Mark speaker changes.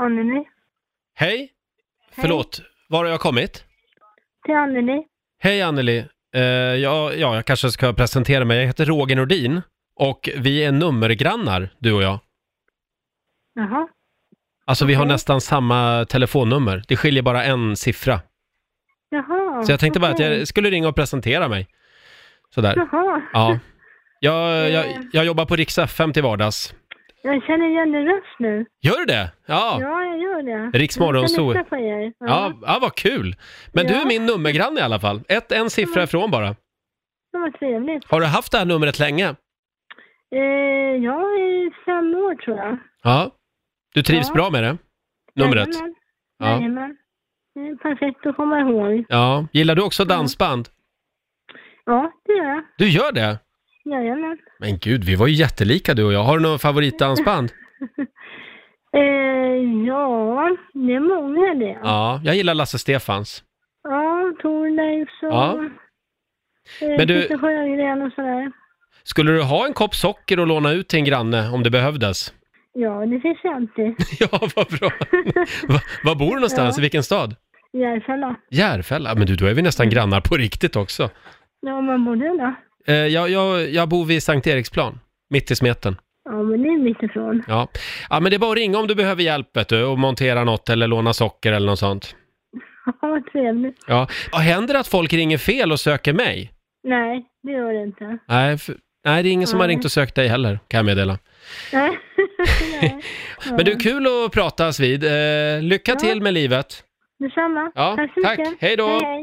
Speaker 1: Anneli.
Speaker 2: Hej! Förlåt, var har jag kommit?
Speaker 1: Till Anneli.
Speaker 2: Hej Anneli! Eh, ja, ja, jag kanske ska presentera mig. Jag heter Roger Nordin och vi är nummergrannar, du och jag.
Speaker 1: Jaha.
Speaker 2: Alltså vi har nästan samma telefonnummer. Det skiljer bara en siffra.
Speaker 1: Jaha.
Speaker 2: Så jag tänkte bara att
Speaker 1: okej.
Speaker 2: jag skulle ringa och presentera mig. Sådär.
Speaker 1: Jaha.
Speaker 2: Ja. Jag, jag, jag jobbar på Rix FM till vardags.
Speaker 1: Jag känner igen din röst nu.
Speaker 2: Gör du det?
Speaker 1: Ja,
Speaker 2: Ja.
Speaker 1: jag gör det.
Speaker 2: Riks Morgonzoo.
Speaker 1: Jag på er.
Speaker 2: Ja, ja vad kul. Men du är
Speaker 1: Ja.
Speaker 2: min nummergranne i alla fall. Ett, en siffra ifrån bara.
Speaker 1: Det var trevligt.
Speaker 2: Har du haft det här numret länge?
Speaker 1: Eh, jag är fem år tror jag.
Speaker 2: Ja. Du trivs
Speaker 1: Ja.
Speaker 2: bra med det? Numret?
Speaker 1: Jajamän.
Speaker 2: Ja.
Speaker 1: Jajamän. Det är perfekt att komma ihåg.
Speaker 2: Ja. Gillar du också dansband?
Speaker 1: Ja, det gör jag.
Speaker 2: Du gör det?
Speaker 1: Jajamän.
Speaker 2: Men gud, vi var ju jättelika du och jag. Har du något favoritdansband?
Speaker 1: Eh, ja, det är många det.
Speaker 2: Ja, jag gillar Lasse Stefans.
Speaker 1: Ja, Thorleifs och...
Speaker 2: Ja.
Speaker 1: Eh,
Speaker 2: Men du-
Speaker 1: Peter Sjögren och sådär.
Speaker 2: Skulle du ha en kopp socker och låna ut till en granne om det behövdes?
Speaker 1: Ja, det finns ju alltid.
Speaker 2: Ja, vad bra. Va, var bor du någonstans?
Speaker 1: Ja.
Speaker 2: I vilken stad?
Speaker 1: Järfälla.
Speaker 2: Järfälla? Men du, då är vi nästan grannar på riktigt också.
Speaker 1: Ja, man bor där då.
Speaker 2: Eh, jag, jag, jag bor vid Sankt Eriksplan, mitt i smeten.
Speaker 1: Ja, men det är mitt ifrån.
Speaker 2: Ja. ja, men det är bara att ringa om du behöver hjälp vet du, och montera något eller låna socker eller något sånt.
Speaker 1: Ja, vad trevligt.
Speaker 2: Ja. Ja, händer det att folk ringer fel och söker mig?
Speaker 1: Nej, det gör det inte.
Speaker 2: Nej, för, nej det är ingen som har
Speaker 1: Nej.
Speaker 2: ringt och sökt dig heller, kan jag meddela.
Speaker 1: Nej. Nej. Ja.
Speaker 2: Men du, kul att pratas vid. Eh, lycka
Speaker 1: Ja.
Speaker 2: till med livet.
Speaker 1: Detsamma.
Speaker 2: Ja,
Speaker 1: tack så
Speaker 2: tack.
Speaker 1: mycket.
Speaker 2: Hej då.
Speaker 1: Hej, hej.